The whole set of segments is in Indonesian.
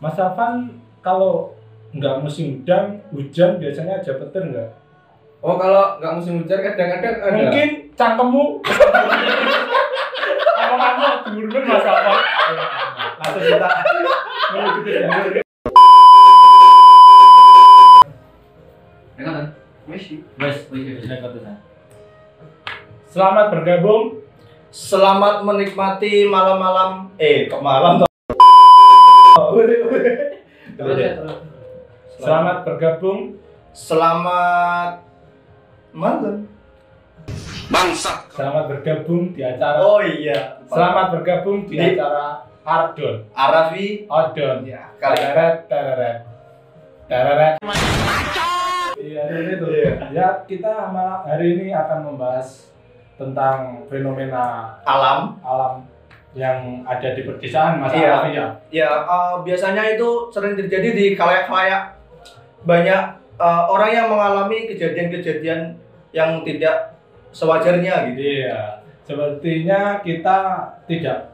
Mas Afan kalau nggak musim hujan, hujan biasanya aja petir nggak? Oh kalau nggak musim hujan kadang-kadang ada. Mungkin cangkemmu. Apa kamu turun mas apa? Langsung kita menuju ke dapur. Ya kan? Wis, Wes, wes, wes, nek kote nah. Selamat bergabung. Selamat menikmati malam-malam. Eh, kok malam toh? Terus ya, terus. Selamat bergabung. Selamat malam. Selamat bergabung di acara. Oh iya. Selamat bergabung di Di- acara Ardon. Arafi. Odon. Ya, kali. Tereret, tereret, tereret. Iya, ini tuh. Iya. Ya, kita malam hari ini akan membahas tentang fenomena Alam. alam yang ada di pedesaan Mas Iya. Arfi ya. Ya, eh, biasanya itu sering terjadi di kalayak-kalayak banyak eh, orang yang mengalami kejadian-kejadian yang tidak sewajarnya gitu. Iya. Sepertinya kita tidak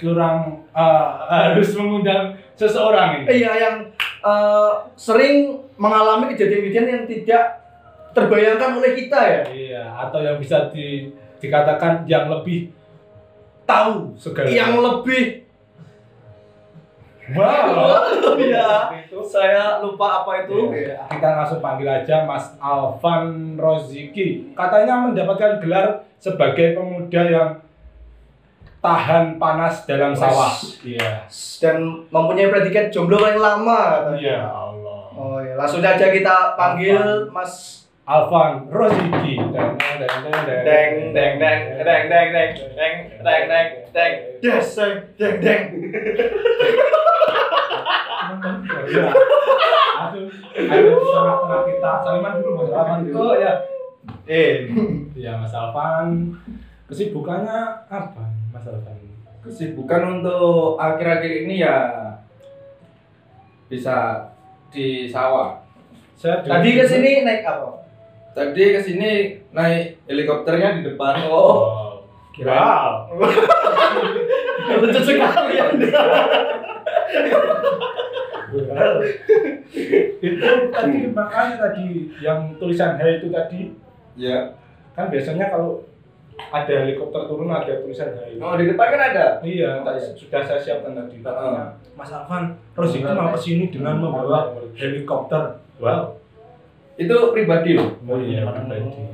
kurang eh, harus mengundang seseorang ini. Iya, yang eh, sering mengalami kejadian-kejadian yang tidak terbayangkan oleh kita ya. Iya, atau yang bisa di- dikatakan yang lebih tahu segala Yang lebih wow. Iya. Itu. saya lupa apa itu. Iya. Kita langsung panggil aja Mas Alvan Roziki. Katanya mendapatkan gelar sebagai pemuda yang tahan panas dalam Wes. sawah. Iya. Dan mempunyai predikat jomblo paling lama. Ya Allah. Oh ya, langsung aja kita panggil Mas Alvan Roziki. Deng deng deng deng Deng Deng Deng Deng Deng Deng Deng Deng Deng Deng Yes, Deng Deng Deng. Iya. Aduh, ayo di tengah-tengah kita. Saliman dulu Mas Alvan dulu. Oh iya. ya. Eh, Iya Mas Alvan. Kesibukannya apa Mas Alvan? Kesibukan untuk akhir-akhir ini ya bisa di sawah. Saya dulu- tadi ke sini naik apa? Tadi ke sini naik helikopternya di depan. Oh. Oh. Wow. Lucu sekali Anda. Iya. itu tadi makanya tadi yang tulisan H itu tadi Ya. kan biasanya kalau ada helikopter turun ada tulisan H itu. Oh, di depan kan ada. Iya, Tadi sudah saya siapkan tadi. Nah, katanya. Mas Alvan, Rosi itu mau kesini dengan membawa helikopter. Wow. Itu pribadi loh. Oh iya,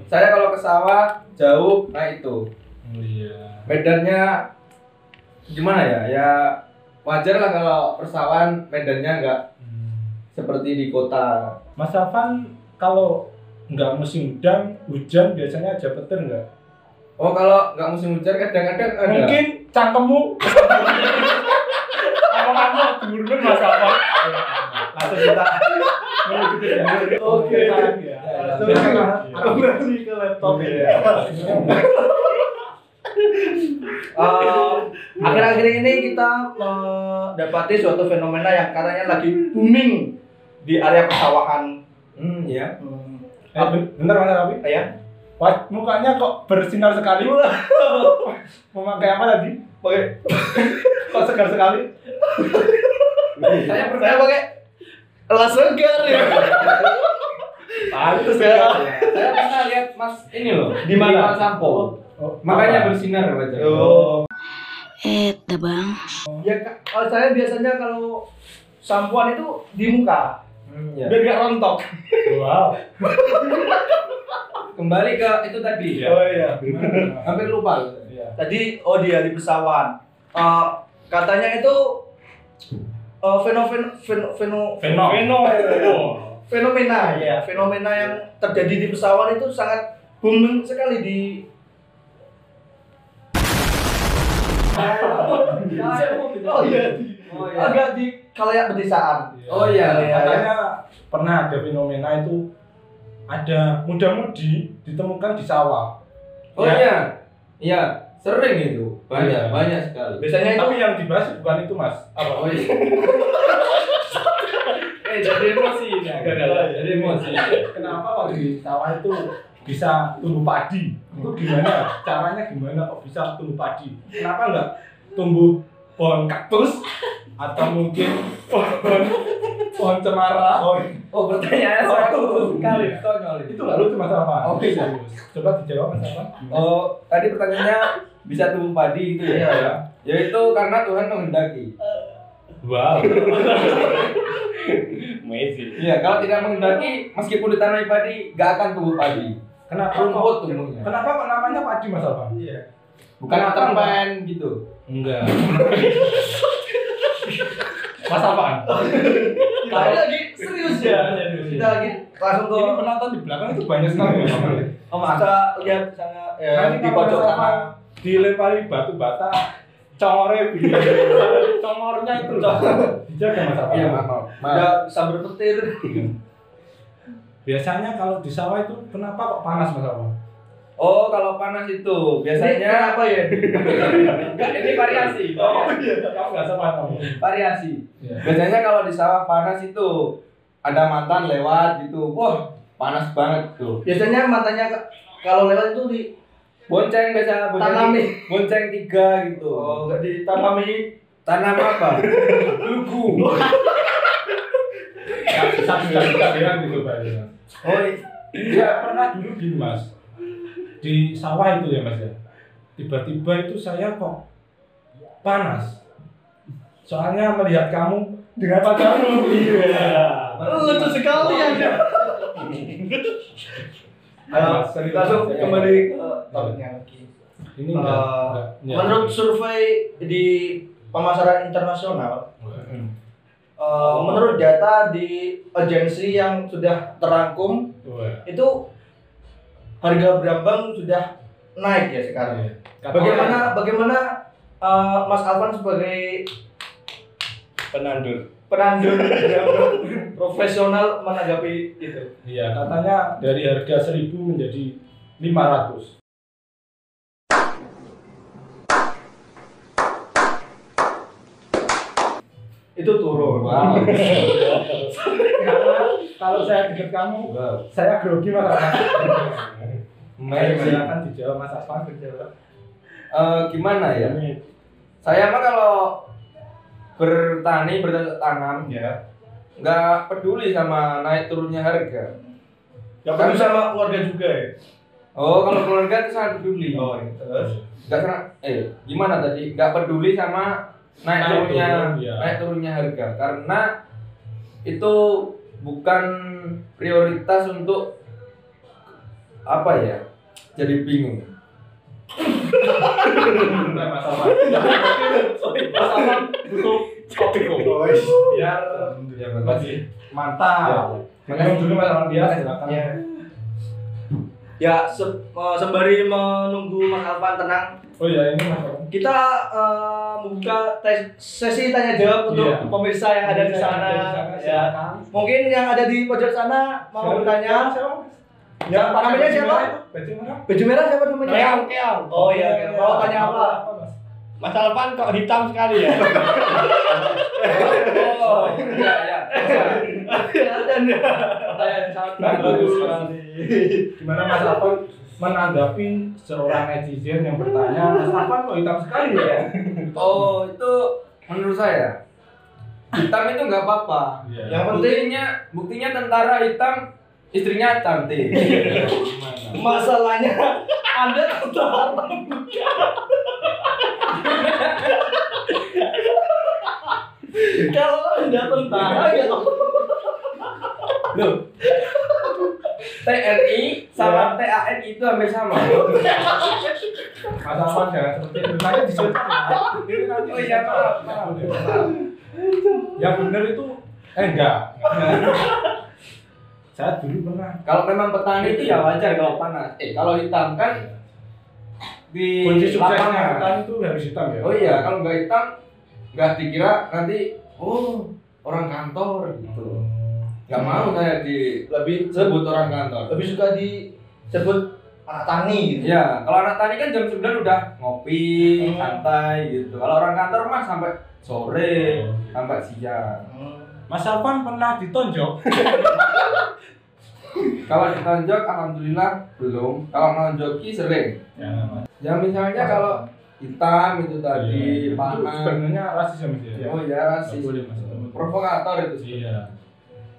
Saya kalau ke sawah jauh naik itu. Oh iya. Medannya gimana ya? Ya wajar lah kalau persawahan medannya nggak seperti di kota. Mas Alvan, kalau nggak musim hujan, hujan biasanya aja petir nggak? Oh kalau nggak musim hujan kadang-kadang ada. Mungkin cangkemmu. Apa kamu turun Mas Alvan? Langsung kita menuju ke dapur. Oke. Kita lagi ya. Langsung Iya. kita- Iya. Kembali ke laptop ya. Eh, Akhir-akhir ini kita mendapati suatu fenomena yang katanya lagi booming di area persawahan. Hmm, ya. Hmm, Eh, ben- Bentar Mas Alvan. ya. Wah, mukanya kok bersinar sekali. Memakai apa tadi? Pakai kok segar sekali? Saya saya pakai elas segar ya Pantes ya. ya. Saya pernah lihat Mas ini loh. Di mana? Mas Sampo. Makanya bersinar wajah. Oh, Eh, bang. ya Kak, kalau saya biasanya kalau sampoan itu di muka Hmm, ya. biar gak rontok wow. Kembali ke itu tadi. Iya. oh iya Hampir lupa. Iya. tadi oh dia di pesawahan Eh, katanya itu eh, fenomen feno, feno, Feno. fenomena ya fenomena yang terjadi di pesawahan itu sangat booming sekali di oh iya di- Oh iya. agak di kalayak pedesaan Oh iya. Iya. Katanya pernah ada fenomena itu ada muda-mudi ditemukan di sawah. Oh Ya. iya. Iya, sering itu. Iya. Banyak, banyak sekali. biasanya itu Tapi yang dibahas bukan itu, Mas. Oh iya. eh, jadi emosi ini. agak. Jadi emosi. Kenapa kalau di sawah itu bisa tumbuh padi? Itu gimana? Caranya gimana kok bisa tumbuh padi? Kenapa enggak tumbuh pohon kaktus atau mungkin pohon pohon cemara Oh, Oh, pertanyaan saya kali, konyol itu lalu itu masalah apa? Oke. Serius. coba dijawab masalah apa? Oh, tadi pertanyaannya bisa tumbuh padi gitu Iya, ya? ya. Yaitu karena Tuhan menghendaki. wow, amazing. Iya, kalau tidak menghendaki, meskipun ditanami padi, nggak akan tumbuh padi. Kenapa Rumput kok? tumbuhnya. Kenapa kok namanya padi mas Alvan? Iya. Bukan waterman gitu. Enggak. mas Alvan. Kita ini lagi serius ya. Kita lagi langsung ke Ini penonton di belakang itu banyak sekali. Mas Eh, Alvan. oh, bisa lihat sana ya, Nanti di kalau pojok Mas Alvan sana. dilempari batu bata, congornya begini. Congornya itu loh. Dijaga mas Alvan. Iya, maaf. Maaf. Ada sambil petir. Biasanya kalau di sawah itu kenapa kok panas mas Alvan? Oh, kalau panas itu biasanya apa ya? Enggak, ini variasi. iya. Kamu nggak sama kamu. Variasi. Iya. Oh. Biasanya kalau di sawah panas itu ada mantan lewat gitu. Wah, panas banget tuh. Biasanya matanya ke- kalau lewat itu di Bonceng biasa bonceng. tanami. Bonceng tiga gitu. Oh, enggak ditanami. Tanam apa? Lugu. Nggak bilang gitu Pak. Oh, Iya pernah dulu gini mas di sawah itu ya mas ya. Tiba-tiba itu saya kok panas. Soalnya melihat kamu dengan pacarmu. Iya. Lucu sekali ya. Ayo, Mas, serius, langsung Mas. kembali ke topiknya lagi. Ini enggak. Eh, enggak, ya. Menurut survei di pemasaran internasional, eh, menurut data di agensi yang sudah terangkum Wah, itu harga Brambang sudah naik ya sekarang. iya. Kata- Bagaimana bagaimana eh, Mas Alvan sebagai penandur penandur Brambang profesional menanggapi itu? Iya, katanya dari harga 1000 menjadi 500. Itu Oh, turun. wow. Karena kalau saya deket kamu, Wow. saya grogi mas Afan. Saya Amazing. silakan dijawab mas Afan dijawab. Eh, gimana Iya. ya? Saya mah kalau bertani bertanam Iya. Ya. nggak peduli sama naik turunnya harga. Ya kan sama keluarga juga ya. Oh, kalau keluarga itu sangat peduli. Oh, iya. terus. Nggak kena- eh gimana tadi? Nggak peduli sama naik, Naik turunnya turun, iya. naik turunnya harga karena itu bukan prioritas untuk apa ya? Jadi bingung. Bentar, mas Afan. Mas Afan butuh kopi kok. oh. Biar Iya, Alhamdulillah. masih mantap. Makanya dulu mas Iya. Afan dia Iya. Iya. silakan. Ya. Ya, se- eh, sembari menunggu Mas Alvan tenang, Oh iya ini mas Afan. kita eh, membuka tes- sesi tanya jawab untuk Iya. pemirsa yang ada di sana. Ya. silakan. Mungkin yang ada di pojok sana Silakan. mau bertanya. Siapa, Mas? Ya, namanya baju siapa? merah itu, Baju merah. Baju merah siapa namanya? keong keong Oh iya, oke. mau tanya apa? Mas? mas Alvan kok hitam sekali ya Oh, iya, iya. ya. Pertanyaan yang sangat Nah, bagus sekali. Gimana Mas Afan menanggapi seorang netizen yang bertanya, Mas Afan kok hitam sekali ya? Oh, itu menurut saya hitam itu nggak apa-apa. Iya. Yang penting Buktinya, buktinya tentara hitam istrinya cantik. Iya. Gimana? masalahnya Anda tetap Kalau Anda tentara ya Loh. TNI Iya. sama TAN itu hampir sama. Mas Afan jangan seperti itu. Saya disuntik. Oh iya, maaf, maaf. Yang benar Ya itu eh enggak. Saya dulu pernah Kalau memang petani itu ya wajar kalau panas. Eh, kalau hitam kan di Iya. kunci suksesnya lapangan. kan itu harus hitam ya. Oh iya, kalau nggak hitam nggak dikira nanti oh orang kantor gitu. Nggak mau Iya. saya lebih disebut orang kantor. lebih suka disebut anak tani gitu. Ya, kalau anak tani kan jam 9 udah ngopi, Iya. Hmm. santai gitu. Kalau orang kantor mah sampai sore, sampai siang. Hmm. Mas Afan pernah ditonjok. Kalau ditonjok alhamdulillah belum. Kalau nonjoki sering. Ya, Mas. Ya misalnya kalau hitam itu tadi Iya. Itu panas sebenarnya rasis ya mas ya oh ya Nggak rasis boleh mas provokator itu sebenarnya. iya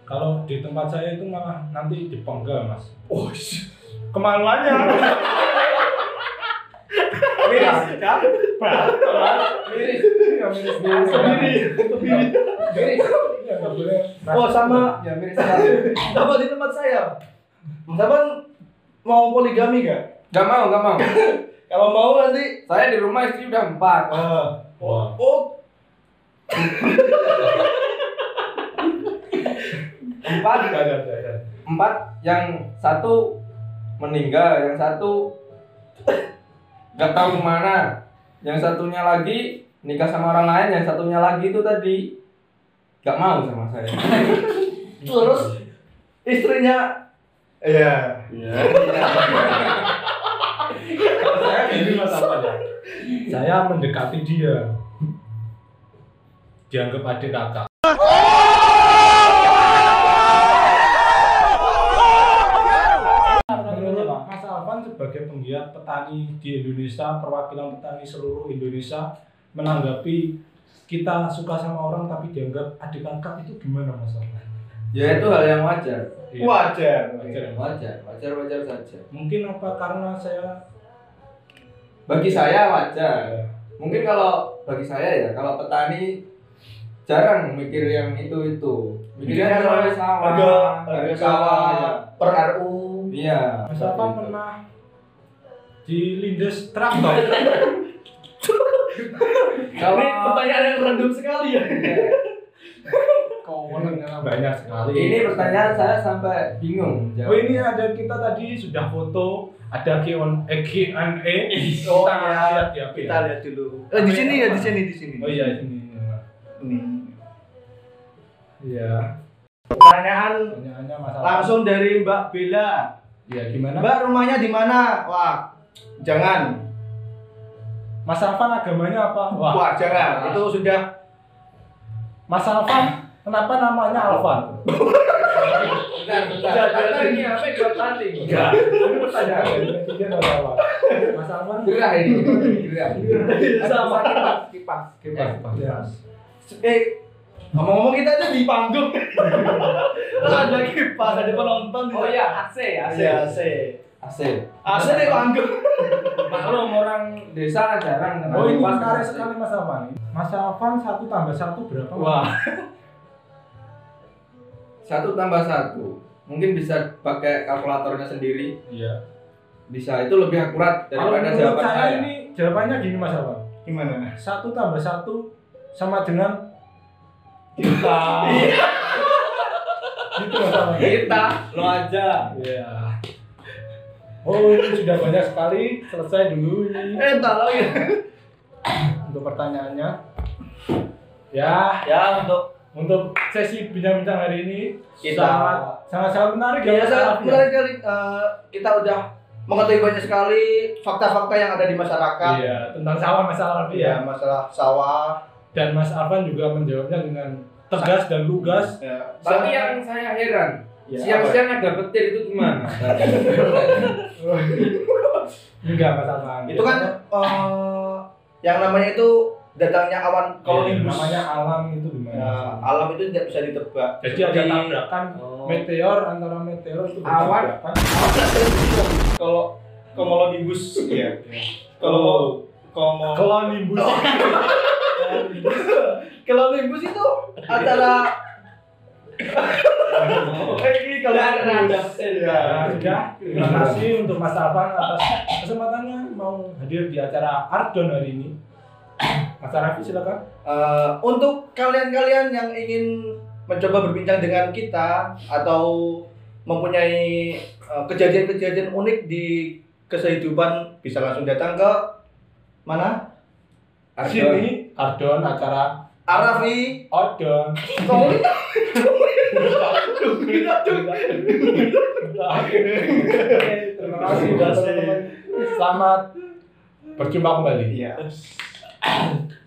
kalau di tempat saya itu malah nanti dipenggal mas oh kemaluannya Miris, Iya. kan? miris Iya, miris miris. Sendiri. miris Iya, nggak boleh Oh sama ya miris sekali sama di tempat saya. Sama mau poligami gak? gak mau gak mau Kalau mau nanti saya di rumah istri udah empat ah, Wah. oh empat empat yang satu meninggal yang satu nggak tahu kemana yang satunya lagi nikah sama orang lain yang satunya lagi itu tadi nggak mau sama saya terus istrinya ya Kalau saya ini mas apa ya? Saya mendekati dia. Dianggap adik kakak. Menurut Mas Alvan sebagai penggiat petani di Indonesia, perwakilan petani seluruh Indonesia menanggapi kita suka sama orang tapi dianggap adik kakak itu gimana Mas Alvan? ya itu hal yang wajar Iya, wajar. wajar ya, Mas. wajar wajar wajar saja Mungkin apa karena saya bagi saya wajar mungkin kalau bagi saya ya kalau petani jarang mikir yang itu itu mikirnya Mikirnya terlalu sawah Harga harga harga sawah iya. ya. per RU. iya Mas seperti Alvan itu. pernah dilindes traktor? Ini kalau pertanyaan yang random sekali ya. Komennya banyak sekali. Ini pertanyaan saya sampai bingung Oh jawab. ini ada kita tadi sudah foto, ada Q&A, eh, Q&A. Oh, kita iya. lihat ya, Pi, Kita ya. lihat dulu. Eh, di sini ya, di sini, di sini. Oh iya ini. Ini. Iya. Pertanyaan Pertanyaannya masalah. langsung dari Mbak Bella. Ya gimana? Mbak rumahnya di mana? Wah, jangan. Mas Alvan agamanya apa? Wah. Wah, jangan. Itu sudah Mas Alvan kenapa namanya Alvan? Bentar, bentar. Bentar, Bentar, bentar. ini apa yang dibanting? Enggak. Ini pertanyaan dari presiden atau apa? Mas Alvan. Gerah ini. Gerah. sama. Iya. Kipas, kipas, Eh, kipas. ya. Eh, ngomong-ngomong kita aja di panggung. Terus ada kipas, ada penonton di Oh sana. iya, AC, AC. Iya, AC. AC. AC di panggung. Maklum orang desa jarang kenal Oh ini kipas, menarik AC. sekali Mas Alvan. Mas Alvan satu tambah satu berapa? Mas? Wah, Satu tambah satu. Mungkin bisa pakai kalkulatornya sendiri. Iya. Bisa, itu lebih akurat Kalau daripada menurut jawaban saya ya? saya. ini jawabannya gini Mas Alvan. gimana? satu tambah satu sama dengan Kita. Iya. gitu mas Alvan. Kita, lo aja. Iya. Oh ini sudah banyak sekali selesai dulu ini Eh, tak lagi. untuk pertanyaannya. Ya Ya, untuk untuk sesi bincang-bincang hari ini Kita- sangat sangat sangat menarik ya. Mas biasa Alvan, ya? menarik sekali. Eh, kita udah mengetahui banyak sekali fakta-fakta yang ada di masyarakat. Iya tentang sawah Mas Alfi ya. Ya, masalah sawah. Dan Mas Alvan juga menjawabnya dengan tegas dan lugas. Ya. Tapi yang saya heran, Ya, siang-siang ada petir itu gimana? Enggak Mas Alvan. Iya. itu kan eh, yang namanya itu datangnya awan kalau kolonimbus Iya, namanya alam itu gimana? Ya, alam itu tidak bisa ditebak Jadi ada Seperti- tabrakan meteor antara meteor itu Awan. bertabrakan. Kalau komolonimbus ya. Kalau Oh. komo Kelonimbus. kolonimbus itu antara Eh, ini kolonimbus Ya, ya sudah. Terima kasih untuk Mas Alvan atas kesempatannya mau hadir di acara Ardon hari ini. Mas Rafi silakan. Eh, untuk kalian-kalian yang ingin mencoba berbincang dengan kita atau mempunyai eh, kejadian-kejadian unik di kehidupan bisa langsung datang ke mana Sini Ardon acara Arafi Odon. Kamu ini Duh, kita tuh. Oke, Terima kasih teman-teman. Selamat berjumpa kembali. Iya.